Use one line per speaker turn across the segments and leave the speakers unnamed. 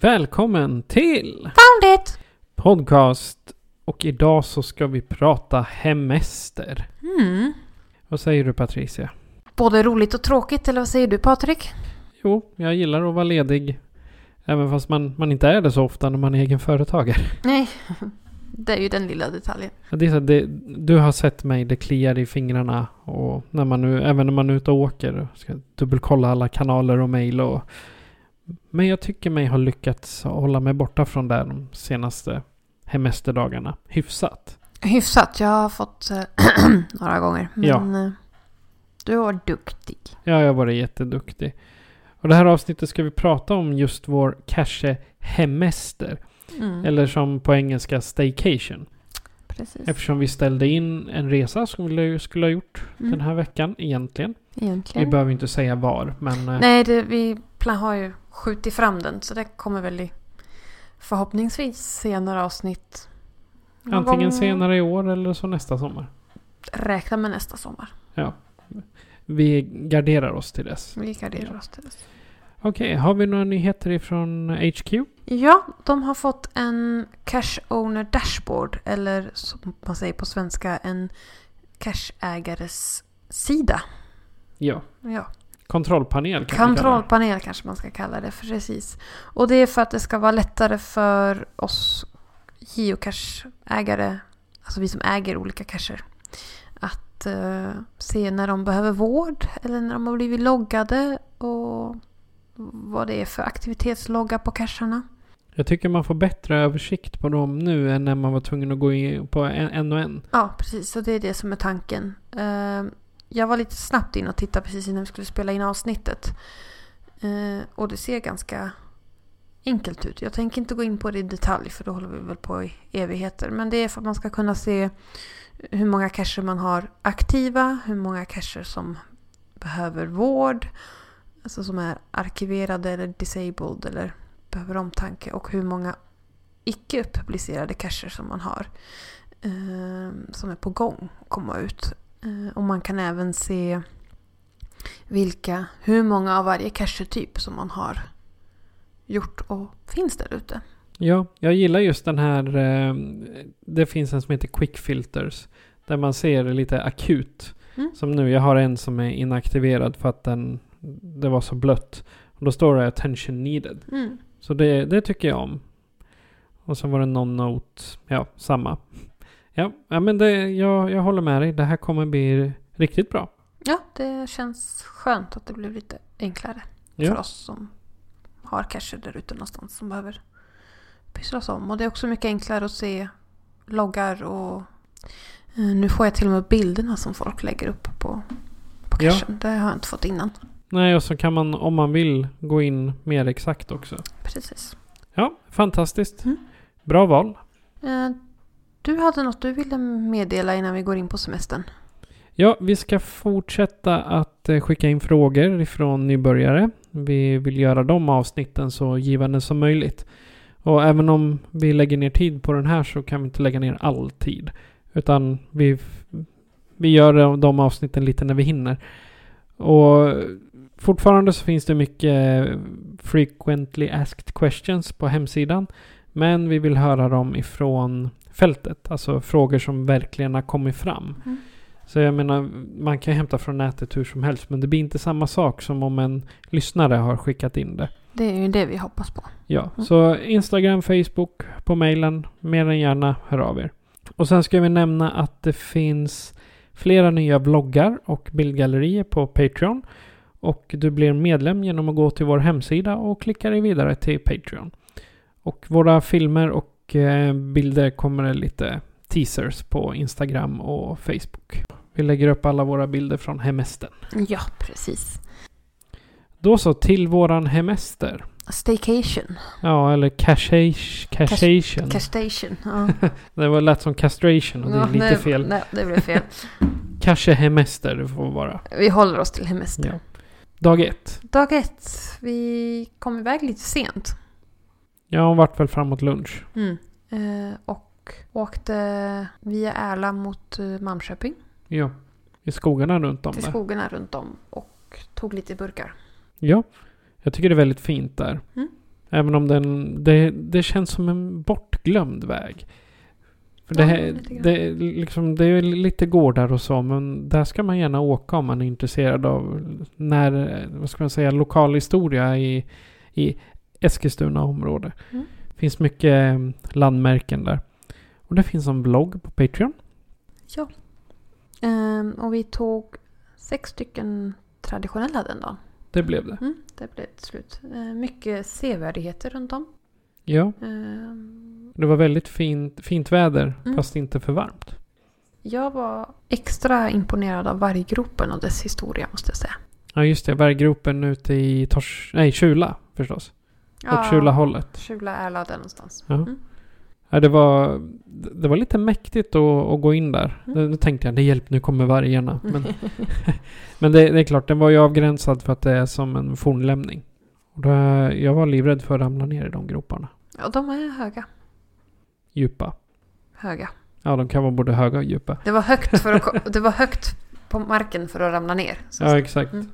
Välkommen till Found it! Podcast. Och idag så ska vi prata hemester.
Mm.
Vad säger du Patricia?
Både roligt och tråkigt, eller vad säger du Patrik?
Jo, jag gillar att vara ledig. Även fast man, man inte är det så ofta när man är egenföretagare.
Nej, det är ju den lilla detaljen.
Det är så, att det, du har sett mig, det kliar i fingrarna. Och när man nu, även när man är ute och åker. Ska dubbelkolla alla kanaler och mejl. Och, men jag tycker mig ha lyckats hålla mig borta från det de senaste hemesterdagarna. Hyfsat.
Hyfsat, jag har fått eh, några gånger. Men
Ja.
eh, du var duktig.
Ja, jag har varit jätteduktig. Och det här avsnittet ska vi prata om just vår kanske hemester.
Mm.
Eller som på engelska staycation.
Precis.
Eftersom vi ställde in en resa som vi skulle ha gjort
Mm.
den här veckan egentligen. Vi
Egentligen.
behöver inte säga var, men... eh,
Nej, det, vi pla- har ju skjutit fram den så det kommer väl i förhoppningsvis senare avsnitt. Någon
Antingen
gång-
senare i år eller så nästa sommar.
Räkna med nästa sommar.
Vi garderar oss till dess.
Vi garderar oss till dess.
Okej, har vi några nyheter ifrån HQ?
Ja, de har fått en Cash Owner Dashboard eller som man säger på svenska en cashägares sida.
Ja.
Ja,
Kontrollpanel kan vi kalla det.
kontrollpanel kanske man ska kalla det för precis. Och det är för att det ska vara lättare för oss geocache-ägare, alltså vi som äger olika cacher, att eh, se när de behöver vård eller när de har blivit loggade och vad det är för aktivitetslogga på cacherna.
Jag tycker man får bättre översikt på dem nu än när man var tvungen att gå in på en, en och en.
Ja, precis. Så det är det som är tanken. Eh, Jag var lite snabbt in och tittade precis innan vi skulle spela in avsnittet. Eh, Och det ser ganska enkelt ut. Jag tänker inte gå in på det i detalj för då håller vi väl på i evigheter. Men det är för att man ska kunna se hur många cacher man har aktiva, hur många cacher som behöver vård, alltså som är arkiverade eller disabled eller behöver omtanke och hur många icke publicerade cacher som man har eh, som är på gång att komma ut. Eh, och man kan även se vilka, hur många av varje cache-typ som man har gjort och finns där ute.
Ja, jag gillar just den här... Eh, det finns en som heter Quick Filters. Där man ser det lite akut.
Mm.
Som nu, jag har en som är inaktiverad för att den, det var så blött. Och då står det attention needed.
Mm.
Så det, det tycker jag om. Och sen var det någon not. Ja, samma. Ja, ja men det, jag, jag håller med dig. Det här kommer bli riktigt bra.
Ja, det känns skönt att det blev lite enklare
Ja.
för oss som har cacher där ute någonstans som behöver pysslas om. Och det är också mycket enklare att se loggar och eh, nu får jag till och med bilderna som folk lägger upp på, på
Ja.
cachen. Det har jag inte fått innan.
Nej, och så kan man om man vill gå in mer exakt också.
Precis.
Ja, fantastiskt.
Mm.
Bra val.
Eh, Du hade något du ville meddela innan vi går in på semestern.
Ja, vi ska fortsätta att eh, skicka in frågor ifrån nybörjare. Vi vill göra de avsnitten så givande som möjligt. Och även om vi lägger ner tid på den här så kan vi inte lägga ner all tid. Utan vi, vi gör de avsnitten lite när vi hinner. Och fortfarande så finns det mycket frequently asked questions på hemsidan. Men vi vill höra dem ifrån fältet. Alltså frågor som verkligen har kommit fram.
Mm.
Så jag menar, man kan hämta från nätet hur som helst, men det blir inte samma sak som om en lyssnare har skickat in det.
Det är ju det vi hoppas på.
Ja, så Instagram, Facebook, på mejlen. Mer än gärna hör av er. Och sen ska vi nämna att det finns flera nya vloggar och bildgallerier på Patreon. Och du blir medlem genom att gå till vår hemsida och klicka dig vidare till Patreon. Och våra filmer och eh, bilder kommer det lite teasers på Instagram och Facebook. Vi lägger upp alla våra bilder från hemestern.
Ja, precis.
Då så, till våran hemester.
Staycation.
Ja, eller cashage, cashation.
Castation. Ja.
Det var lätt som castration och det är
Ja,
lite
nej,
fel.
Nej, det blev fel.
Kanske hemester det får vara.
Vi håller oss till hemester.
Ja. Dag ett.
Dag ett. Vi kom iväg lite sent.
Ja, hon vart väl framåt lunch.
Eh, och åkte via Ärla mot eh, Malmköping.
Ja. I skogarna runt om
Till
där.
skogarna runt om. Och tog lite burkar.
Ja. Jag tycker det är väldigt fint där.
Mm.
Även om den, det, det känns som en bortglömd väg. För det,
Ja,
här-
lite grann.
det, är liksom, det är lite gårdar och så, men där ska man gärna åka om man är intresserad av när, vad ska man säga, lokal historia i, i Eskilstuna område.
Mm.
finns mycket eh, landmärken där. Och det finns en blogg på Patreon.
Ehm, och vi tog sex stycken traditionella den dagen.
Det blev det.
Mm, det blev ett slut. Eh, mycket sevärdheter runt om.
Ja,
Ehm,
det var väldigt fint, fint väder,
Mm.
fast inte för varmt.
jag var extra imponerad av varggropen och dess historia måste jag säga.
Ja, just det. Berggropen ute i Tors... Nej, Kjula förstås. Åt Kjulahållet.
Kjula Ärla där någonstans.
Ja.
Mm.
Ja, det, var, det var lite mäktigt att, att gå in där.
Mm.
Nu tänkte jag, det hjälp, nu kommer vargarna. Men, men det, det är klart, den var ju avgränsad för att det är som en fornlämning. Och det, jag var livrädd för att ramla ner i de groparna.
Ja, de är höga.
Djupa.
Höga.
Ja, de kan vara både höga och djupa.
Det var högt, för att, ko- det var högt på marken för att ramla ner. Så
Ja, exakt.
Mm.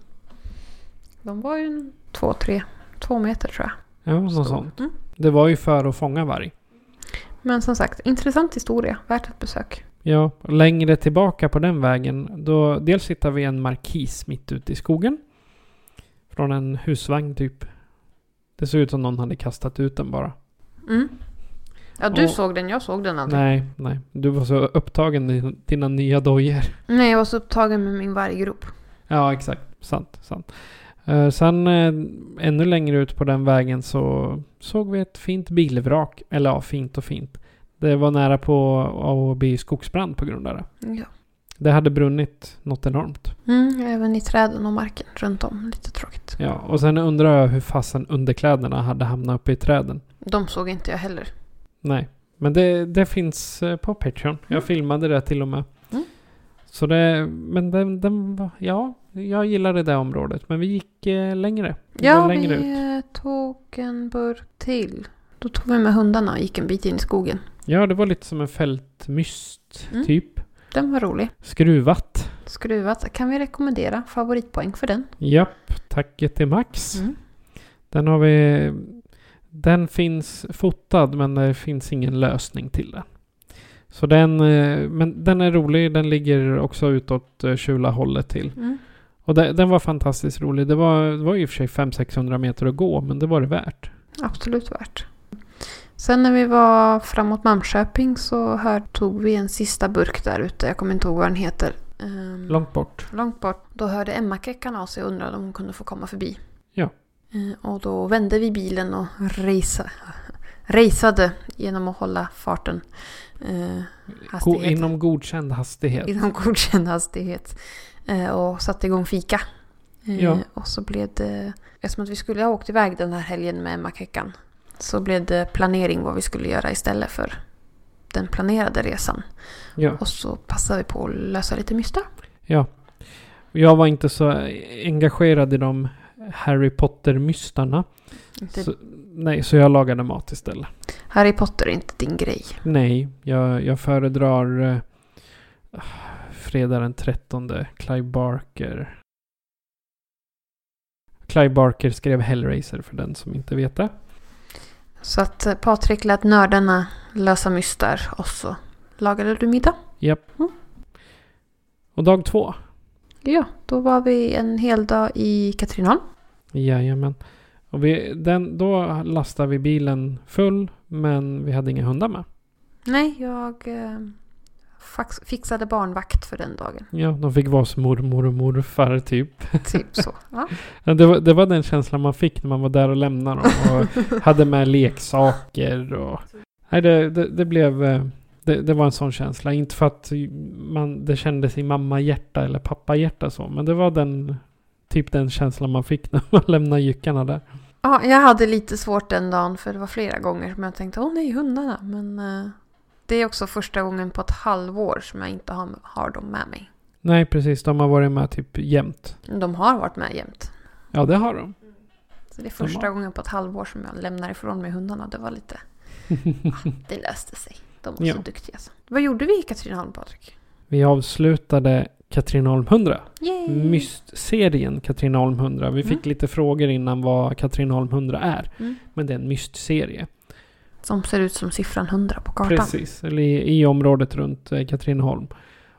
De var ju en två, tre, två meter tror jag.
Ja, något sånt.
Mm.
Det var ju för att fånga varg.
Men som sagt, intressant historia. Värt ett besök.
Ja, och längre tillbaka på den vägen. Då, dels hittar vi en markis mitt ute i skogen. Från en husvagn typ. Det såg ut som någon hade kastat ut den bara.
Mm. Ja, du
Och-
såg den, jag såg den aldrig.
Nej, nej. Du var så upptagen i dina nya dojor.
Nej. jag var så upptagen med min varggrop.
Ja, exakt. Sant, sant. Eh, sen eh, ännu längre ut på den vägen så såg vi ett fint bilvrak. Eller ja, fint och fint. Det var nära på att bli skogsbrand på grund av det.
Ja.
Det hade brunnit något enormt.
Mm, även i träden och marken runt om. Lite tråkigt.
Ja, och sen undrar jag hur fasen underkläderna hade hamnat uppe i träden.
De såg inte jag heller.
Nej, men det, det finns eh, på Patreon. Jag filmade det till och med.
Mm.
Så det, men den, den var, ja, jag gillade det området. Men vi gick eh, längre. Vi
Ja,
var
vi
längre ut.
eh, tog en burk till. Då tog vi med hundarna och gick en bit in i skogen.
Ja, det var lite som en fältmyst,
Mm.
typ.
Den var rolig.
Skruvat.
Skruvat. Kan vi rekommendera favoritpoäng för den?
Japp, tacket till Max.
Mm.
Den har vi... Den finns fotad men det finns ingen lösning till den. Så den, eh, men den är rolig. Den ligger också utåt eh, Kjula-hållet till.
Mm.
Och de- den var fantastiskt rolig. Det var, det var i och för sig 500-600 meter att gå men det var det värt.
Absolut värt. Sen när vi var framåt Malmköping så här tog vi en sista burk där ute. Jag kommer inte ihåg vad den heter. Ehm,
Långt bort.
långt bort. Då hörde Emma-kräkan av sig och undrade om hon kunde få komma förbi.
Ja.
Eh, och då vände vi bilen och resa, resade genom att hålla farten. Eh,
Go,
hastigheten.
inom godkänd hastighet.
inom godkänd hastighet. Eh, och satte igång fika. Eh,
Ja.
Och så blev det, eftersom att vi skulle ha åkt iväg den här helgen med Makeckan, så blev det planering vad vi skulle göra istället för den planerade resan.
Ja.
Och så passade vi på att lösa lite mystar.
Jag var inte så engagerad i de Harry Potter-mystarna.
Inte-
Så, nej, så jag lagade mat istället.
Harry Potter är inte din grej.
Nej, jag, jag föredrar eh, fredag den 13. Clive Barker. Clive Barker skrev Hellraiser för den som inte vet det.
Så att eh, Patrik lät nördarna lösa mystar och så lagade du middag.
Japp.
Mm.
Och dag två.
Ja, då var vi en hel dag i Katrineholm.
Jajamän. Och vi, den, då lastade vi bilen full men vi hade inga hundar med.
Nej, jag eh, fax, fixade barnvakt för den dagen.
Ja, de fick vara som mormor och morfar typ.
Typ så. Ja.
Ja, Det var, det var den känslan man fick när man var där och lämnade dem och hade med leksaker och... Nej, det, det, det blev... eh, Det, det var en sån känsla. Inte för att man, det kändes i mamma-hjärta eller pappa-hjärta så, men det var den... Typ den känslan man fick när man lämnade jyckarna där.
Ja, jag hade lite svårt den dagen för det var flera gånger som jag tänkte åh nej, hundarna. Men eh, det är också första gången på ett halvår som jag inte har, har dem med mig.
Nej, precis. De har varit med typ jämt.
De har varit med jämt.
Ja, det har de.
Så det är första gången på ett halvår som jag lämnar ifrån mig hundarna. Det var lite... Ja, det löste sig. De var
Ja.
så duktiga. Så. Vad gjorde vi i Katrineholm, Patrik?
Vi avslutade Katrineholm 100.
Yay!
Mystserien Katrineholm 100. Vi fick
Mm.
lite frågor innan vad Katrineholm 100 är.
Mm.
Men det är en mystserie.
Som ser ut som siffran 100 på kartan.
Precis, eller i, i området runt eh, Katrineholm.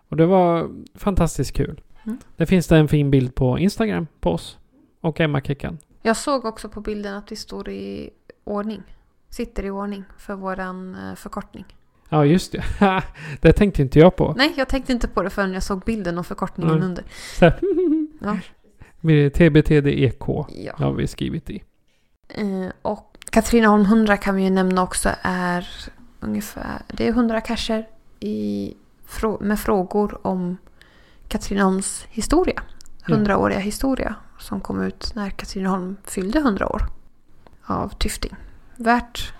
Och det var fantastiskt kul.
Mm.
Det finns det en fin bild på Instagram på oss. Och Emma Kickan.
Jag såg också på bilden att vi står i ordning. Sitter i ordning för våran eh, förkortning.
Ja, just det. det tänkte inte jag på.
Nej, jag tänkte inte på det förrän jag såg bilden och förkortningen
Nej.
under.
Så här,
Ja.
Vi- TBTDEK
Ja.
E har vi skrivit i.
Eh, Och Katrineholm 100 kan vi ju nämna också är ungefär, det är 100 cacher i, frå- med frågor om Katrineholms historia.
Ja.
100-åriga historia som kom ut när Katrineholm fyllde 100 år. Av Tyfting. Värt,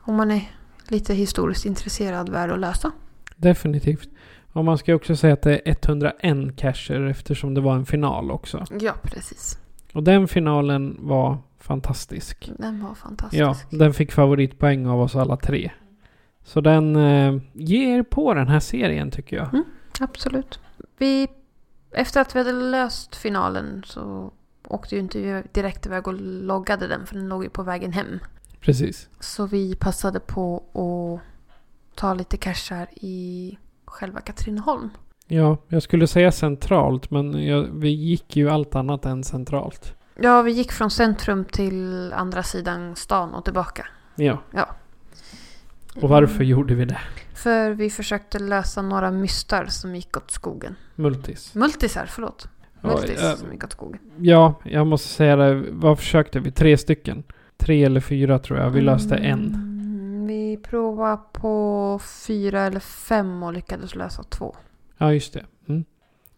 om man är lite historiskt intresserad, värd att lösa.
Definitivt. Och man ska också säga att det är 101 cacher eftersom det var en final också.
Ja, precis.
Och den finalen var fantastisk.
Den var fantastisk.
Ja, den fick favoritpoäng av oss alla tre. Så den eh, ger på den här serien tycker
Mm.
jag.
Absolut. Vi, efter att vi hade löst finalen så åkte ju inte vi direkt iväg och loggade den för den låg ju på vägen hem.
Precis.
Så vi passade på att ta lite cashar i själva Katrineholm.
Ja, jag skulle säga centralt men jag, vi gick ju allt annat än centralt.
Ja, vi gick från centrum till andra sidan stan och tillbaka.
Ja, och
Mm.
varför gjorde vi det?
För vi försökte lösa några mystar som gick åt skogen.
Multis.
Multisar, förlåt.
Ja,
Multis
eh,
som gick åt skogen.
Ja, jag måste säga det. Vad försökte vi? Tre stycken. Tre eller fyra tror jag. Vi löste en.
Mm, Vi provade på fyra eller fem och lyckades lösa två.
Ja, just det. Mm.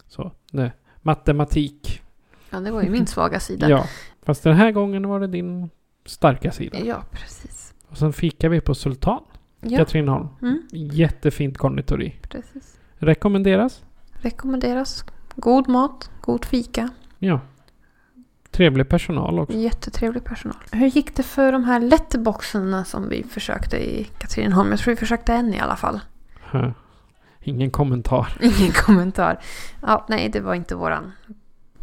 Så, det. Matematik.
Ja, det var ju min svaga sida.
Ja, fast den här gången var det din starka sida.
ja precis.
Och sen fikade vi på Sultan,
Ja,
Katrineholm.
mm,
Jättefint konditori.
precis.
Rekommenderas.
Rekommenderas. God mat, god fika,
Ja. Trevlig personal också.
jättetrevlig personal. Hur gick det för de här letterboxarna som vi försökte i Katrineholm? Jag tror vi försökte en i alla fall.
Hö. Ingen kommentar.
Ingen kommentar. Ja, nej, det var inte våran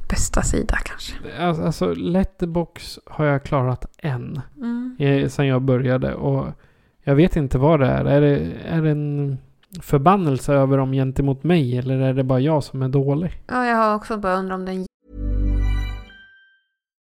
bästa sida kanske.
Alltså, alltså letterbox har jag klarat en.
Mm.
eh, sen jag började. Och jag vet inte vad det är. Är det, är det en förbannelse över dem gentemot mig? Eller är det bara jag som är dålig?
Ja, jag har också börjat undra om den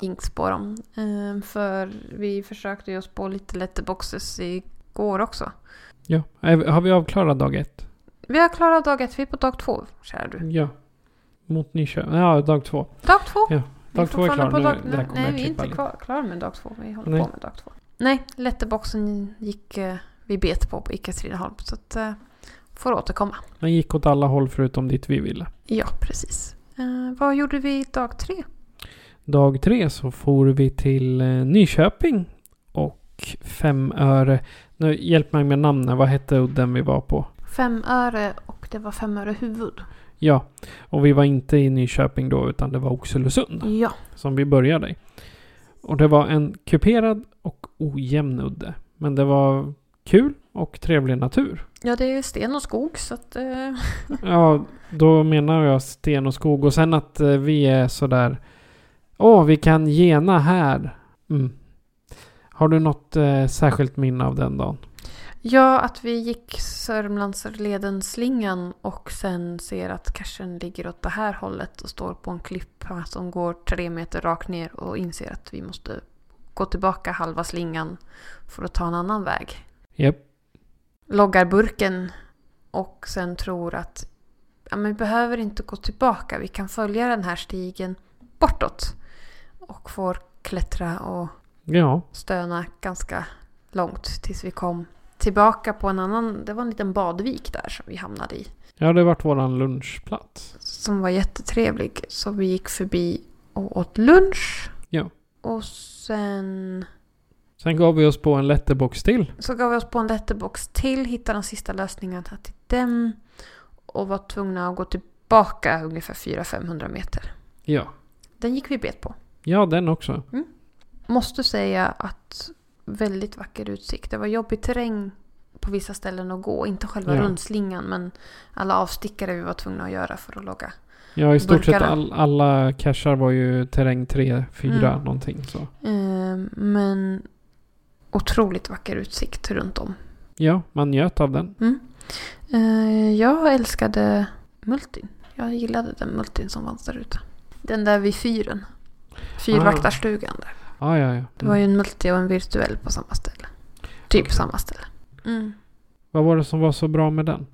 jinx på dem. Ehm, För vi försökte ju oss på lite letterboxes igår också.
Ja. Är- Har vi avklarat dag ett?
Vi har klarat dag ett, vi är på dag två, kära du.
Ja. Mot Nyköping? Ja, dag två.
Dag två!
Ja,
Vi är
Dag två är klar.
fortfarande
Nu,
på dag-
det här kommer
Nej,
jag
vi är inte
klippa lite.
klar, klar med dag två. Vi håller
Nej.
på med dag två. Nej, letterboxen gick eh, vi bet på på Ica Katrineholm. Så att, eh, får återkomma.
Den gick åt alla håll förutom dit vi ville.
Ja, precis. Eh, vad gjorde Ehm, vi dag tre?
Dag tre så for vi till eh, Nyköping och Femöre. Nu, hjälp mig med namnen. Vad hette udden vi var på?
Fem öre och det var fem öre huvud.
Ja, och vi var inte i Nyköping då utan det var Oxelösund
Ja.
som vi började i. Och det var en kuperad och ojämn udde. Men det var kul och trevlig natur.
Ja, det är sten och skog så att... Eh,
Ja, då menar jag sten och skog. Och sen att eh, vi är sådär... Åh, vi kan gena här. Mm. Har du något eh, särskilt minne av den dagen?
ja, att vi gick Sörmlandsleden slingan och sen ser att cashen ligger åt det här hållet och står på en klippa som går tre meter rakt ner och inser att vi måste gå tillbaka halva slingan för att ta en annan väg.
Japp.
loggar burken och sen tror att ja, men vi behöver inte gå tillbaka. Vi kan följa den här stigen bortåt. Och får klättra och
Ja.
stöna ganska långt tills vi kom tillbaka på en annan, det var en liten badvik där som vi hamnade i.
Ja, det vart våran lunchplats.
Som var jättetrevlig. Så vi gick förbi och åt lunch.
Ja.
Och sen
Sen gav vi oss på en letterbox till.
Så gav vi oss på en letterbox till, hittade den sista lösningen till den och var tvungna att gå tillbaka ungefär 400-500 meter.
Ja.
Den gick vi bet på.
Ja, den också.
Måste säga att väldigt vacker utsikt. Det var jobbig terräng på vissa ställen att gå. Inte själva
Ja.
rundslingan men alla avstickare vi var tvungna att göra för att logga.
Ja, i stort sett
Burkarna.
all, alla cashar var ju terräng 3, 4
Mm.
någonting så.
Ehm, Men otroligt vacker utsikt runt om.
Ja, man njöt av den.
Eh, jag älskade multin. Jag gillade den multin som fanns där ute. Den där vid fyren. Fyrvaktarstugan där.
Ah, ja, ja.
Det var ju en multi och en virtuell på samma ställe. Typ samma ställe. Mm.
Vad var det som var så bra med den?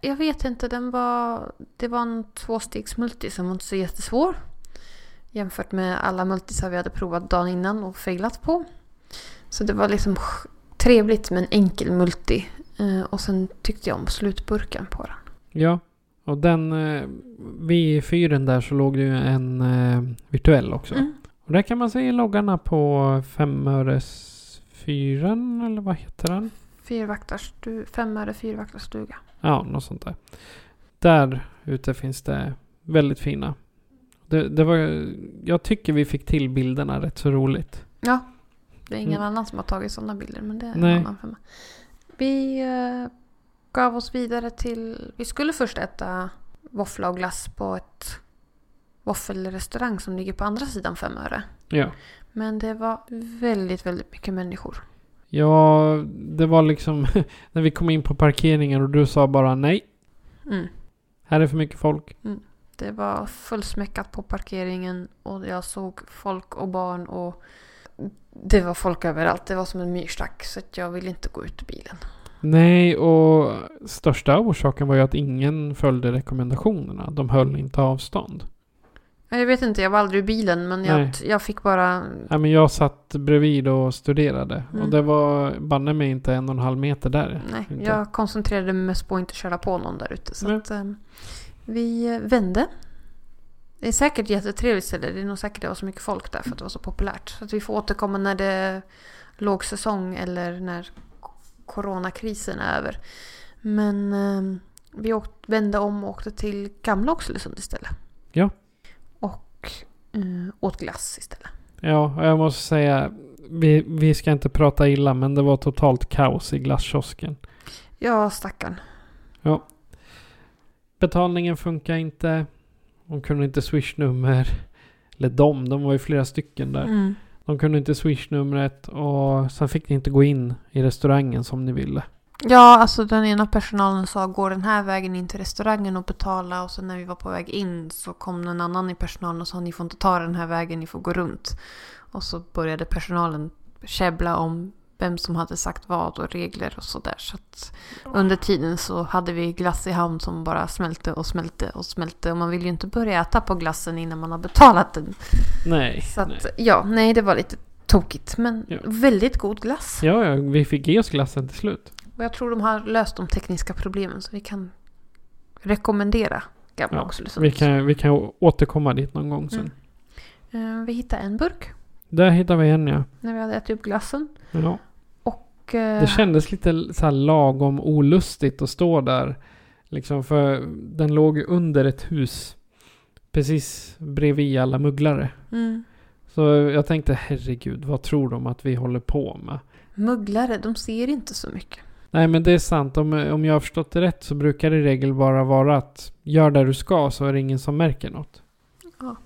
Jag vet inte, den var... Det var en tvåstegsmulti som var inte så jättesvår. Jämfört med alla multisar vi hade provat dagen innan och failat på. Så det var liksom sch- trevligt med en enkel multi. Eh, och sen tyckte jag om slutburken på den.
Ja, och den... Eh, vid fyren där så låg det ju en eh, virtuell också.
Mm.
Och där kan man se loggarna på femöresfyren, eller vad heter den?
Fyrvaktarstu, femmare fyrvaktarstuga.
Ja, något sånt där. Där ute finns det väldigt fina. Det, det var... Jag tycker vi fick till bilderna rätt så roligt.
Det är ingen
Mm.
annan som har tagit sådana bilder men det är
Nej.
en annan femma. Vi eh, gav oss vidare till... Vi skulle först äta våffla och glass på ett våffelrestaurang som ligger på andra sidan Femöre.
Ja.
Men det var väldigt, väldigt mycket människor.
Ja, det var liksom när vi kom in på parkeringen och du sa bara nej,
Mm.
här är för mycket folk.
Det var fullsmäckat på parkeringen och jag såg folk och barn och det var folk överallt. Det var som en myrstack så att jag ville inte gå ut ur bilen.
Nej, och största orsaken var ju att ingen följde rekommendationerna. De höll inte avstånd.
Ja, Jag vet inte, jag var aldrig i bilen men jag,
Nej.
jag fick bara...
Nej, men jag satt bredvid och studerade och
Mm.
det var banne mig inte en och en halv meter där.
Nej,
Inte.
jag koncentrerade mig mest på att inte köra på någon där ute. Så
Nej.
att, ehm, vi vände. Det är säkert ett jättetrevligt ställe. Det är nog säkert det var så mycket folk där för att det var så populärt. Så att vi får återkomma när det är lågsäsong eller när coronakrisen är över. Men ehm, vi åkte, vände om och åkte till gamla Oxelösund istället.
Ja.
Och eh, åt glass istället.
Ja, och jag måste säga, vi, vi ska inte prata illa, men det var totalt kaos i glasskiosken.
Ja, stackarn.
Betalningen funkar inte. De kunde inte swishnummer. Eller de, de var ju flera stycken där.
Mm.
De kunde inte swishnumret och sen fick ni inte gå in i restaurangen som ni ville.
Ja, alltså den ena personalen sa gå den här vägen in till restaurangen och betala och sen när vi var på väg in så kom en annan i personalen och sa ni får inte ta den här vägen, ni får gå runt. Och så började personalen käbbla om vem som hade sagt vad och regler och sådär. Så att under tiden så hade vi glass i hamn som bara smälte och smälte och smälte och man vill ju inte börja äta på glassen innan man har betalat den.
Nej.
Så att
nej.
ja, nej det var lite tokigt men
Ja.
väldigt god glass.
Ja, ja, vi fick ge oss glassen till slut.
Och jag tror de har löst de tekniska problemen så vi kan rekommendera gamla liksom.
Ja,
Oxelösund.
Vi kan, vi kan återkomma dit någon gång sen.
Mm. Eh, Vi hittade en burk
Där hittar vi en ja.
när vi hade ätit upp glassen.
ja.
Och, eh,
Det kändes lite så här lagom olustigt att stå där. Liksom för den låg ju under ett hus. Precis bredvid alla mugglare.
mm,
Så jag tänkte herregud, vad tror de att vi håller på med?
mugglare, de ser inte så mycket.
Nej men det är sant, om, om jag har förstått det rätt så brukar det i regel bara vara att gör det du ska så är det ingen som märker något.
Ja.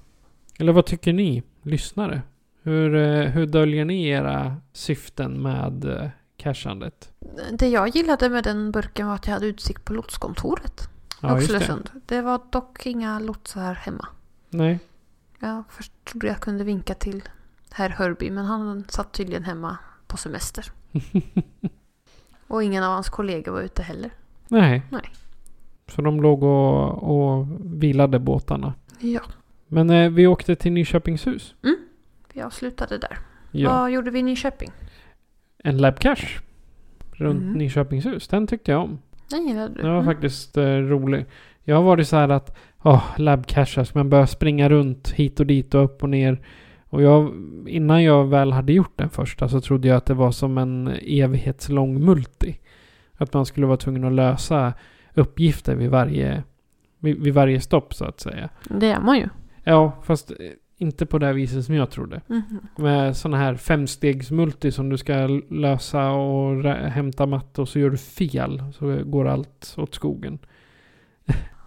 Eller vad tycker ni, lyssnare? Hur, eh, hur döljer ni era syften med eh, cashandet?
Det jag gillade med den burken var att jag hade utsikt på lotskontoret. Ja,
just det.
Oxelösund. Det. var dock inga lotsar hemma.
Nej.
Jag förstod jag kunde vinka till herr Hörby men han satt tydligen hemma på semester. och ingen av hans kollegor var ute heller.
Nej.
Nej.
Så de låg och, och vilade båtarna.
Ja,
Men eh, vi åkte till Nyköpingshus.
vi avslutade där.
Ja.
Vad gjorde vi i Nyköping?
En lab cash. Runt
Mm.
Nyköpingshus. Den tyckte jag om.
Den gillade du.
Den var
Mm.
faktiskt eh, rolig. Jag har varit så här att oh, labbcashas, man börjar springa runt hit och dit och upp och ner. Och jag, innan jag väl hade gjort den första så trodde jag att det var som en evighetslång multi. Att man skulle vara tvungen att lösa uppgifter vid varje, vid, vid varje stopp så att säga.
Det är man ju.
Ja, fast eh, inte på det här viset som jag trodde.
Mhm.
Med sådana här femstegsmulti som du ska lösa och rä- hämta matte och så gör du fel så går allt åt skogen.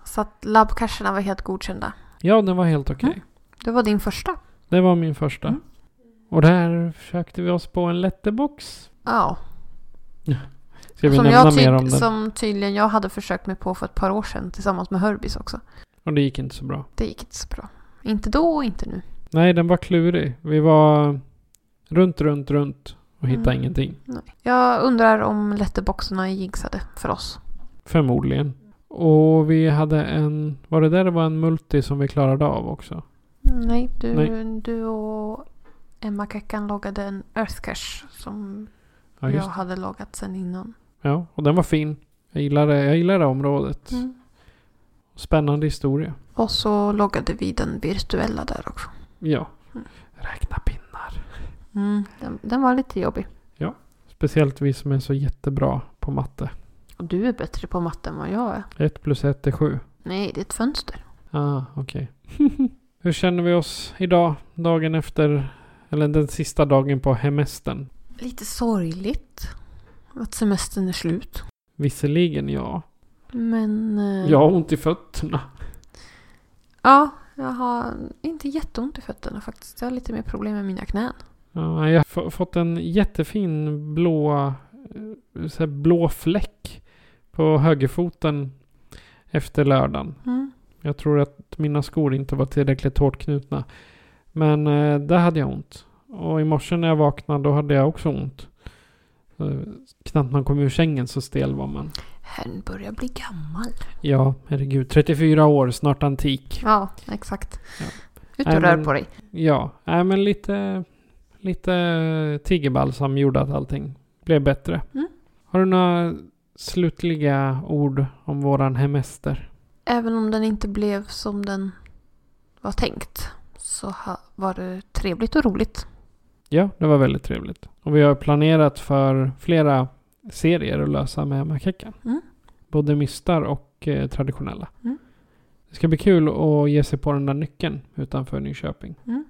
Så att labbcasherna var helt godkända.
Ja, den var helt okej.
Mm. Det var din första.
Det var min första.
Mm.
Och där försökte vi oss på en letterbox.
Ja.
Ska vi
Som,
nämna
jag
mer om
tyd-
den?
som tydligen jag hade försökt mig på för ett par år sedan tillsammans med Hörbys också.
Och det gick inte så bra.
Det gick inte så bra. Inte då och inte nu.
Nej, den var klurig. Vi var runt, runt, runt och hittade
Mm.
ingenting.
Jag undrar om letterboxarna är jinxade för oss.
Förmodligen. Och vi hade en... Var det där det var en multi som vi klarade av också?
Nej, du,
Nej.
du och Emma Kekkan loggade en Earthcache som
Ja,
jag
just
hade loggat sen innan.
Ja, och den var fin. Jag gillade, jag gillade det området.
Mm.
Spännande historia.
Och så loggade vi den virtuella där också.
Ja.
Mm.
Räkna pinnar.
Den, den var lite jobbig.
Speciellt vi som är så jättebra på matte.
Och du är bättre på matte än vad jag är.
Ett plus ett är sju.
Nej, det är ett fönster.
Ah, okej. Hur känner vi oss idag? Dagen efter, eller den sista dagen på hemestern?
Lite sorgligt att semestern är slut.
Visserligen ja.
Men... eh,
Jag har ont i fötterna.
Ja, jag har inte jätteont i fötterna faktiskt. Jag har lite mer problem med mina knän.
Ja, jag har få- fått en jättefin blå, eh, så här blå fläck på högerfoten efter lördagen.
Mm.
Jag tror att mina skor inte var tillräckligt hårt knutna. Men eh, där hade jag ont. Och i morse när jag vaknade då hade jag också ont. Eh, knappt man kom ur sängen så stel var man.
Herren börjar bli gammal.
Ja, herregud. 34 år, snart antik.
Ja, exakt.
Ja.
Ut
Nej,
och rör
men-
på dig.
Ja, nej men lite, lite tigerbalsam gjorde att allting blev bättre.
Mm.
Har du några slutliga ord om våran hemester?
Även om den inte blev som den var tänkt så ha, var det trevligt och roligt.
Ja, det var väldigt trevligt. Och vi har planerat för flera serier att lösa med Makekan.
Mm.
Både mystar och eh, traditionella.
Mm.
Det ska bli kul att ge sig på den där nyckeln utanför Nyköping.
Mm.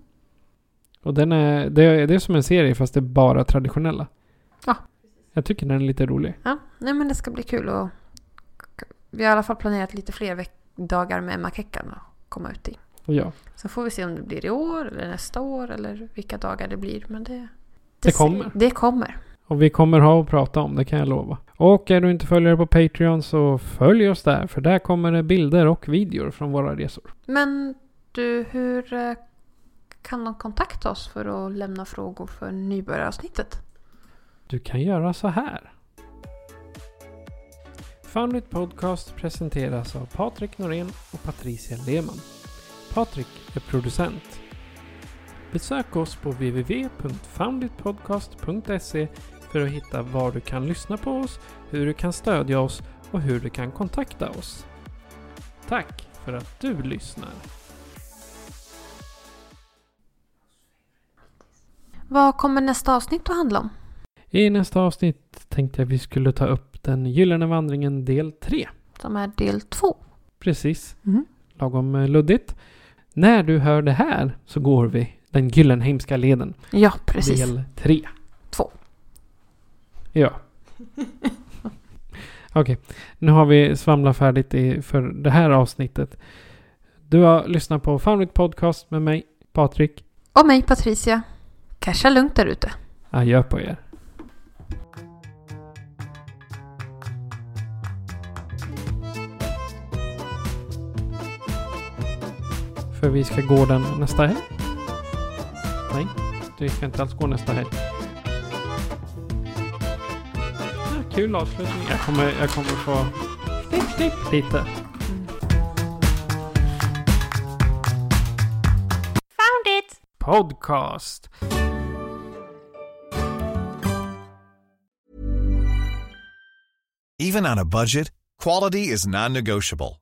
Och den är, det, är, det är som en serie fast det är bara traditionella.
Ja.
Jag tycker den är lite rolig.
Ja, nej men det ska bli kul och vi har i alla fall planerat lite fler veck- dagar med Emma Kekkan att komma ut i.
Ja.
Sen får vi se om det blir i år eller nästa år eller vilka dagar det blir. Men det, det,
Det
ser-
kommer.
Det kommer.
Och vi kommer ha att prata om det kan jag lova. Och är du inte följare på Patreon så följ oss där för där kommer det bilder och videor från våra resor.
Men du, hur eh, kan de kontakta oss för att lämna frågor för nybörjaravsnittet?
Du kan göra så här. Foundit Podcast presenteras av Patrik Norén och Patricia Lehmann. Patrik är producent. Besök oss på www.founditpodcast.se för att hitta var du kan lyssna på oss, hur du kan stödja oss och hur du kan kontakta oss. Tack för att du lyssnar!
Vad kommer nästa avsnitt att handla om?
I nästa avsnitt tänkte jag vi skulle ta upp Den gyllene vandringen del 3.
Som är del två.
Precis.
Mm.
Lagom eh, luddigt. När du hör det här så går vi Den gyllenheimska leden
Ja, precis.
del 3.
Två.
Ja. Okej, nu har vi svamlat färdigt i, för det här avsnittet. Du har lyssnat på Found It Podcast med mig, Patrik.
Och mig, Patricia. Casha lugnt där ute.
Adjö på er. För vi ska gå den nästa helg. Nej, vi ska inte alls gå nästa helg. Ja, kul avslutning. Jag kommer, jag kommer få snipp, snipp lite.
Found it!
Podcast.
Even on a budget, quality is non-negotiable.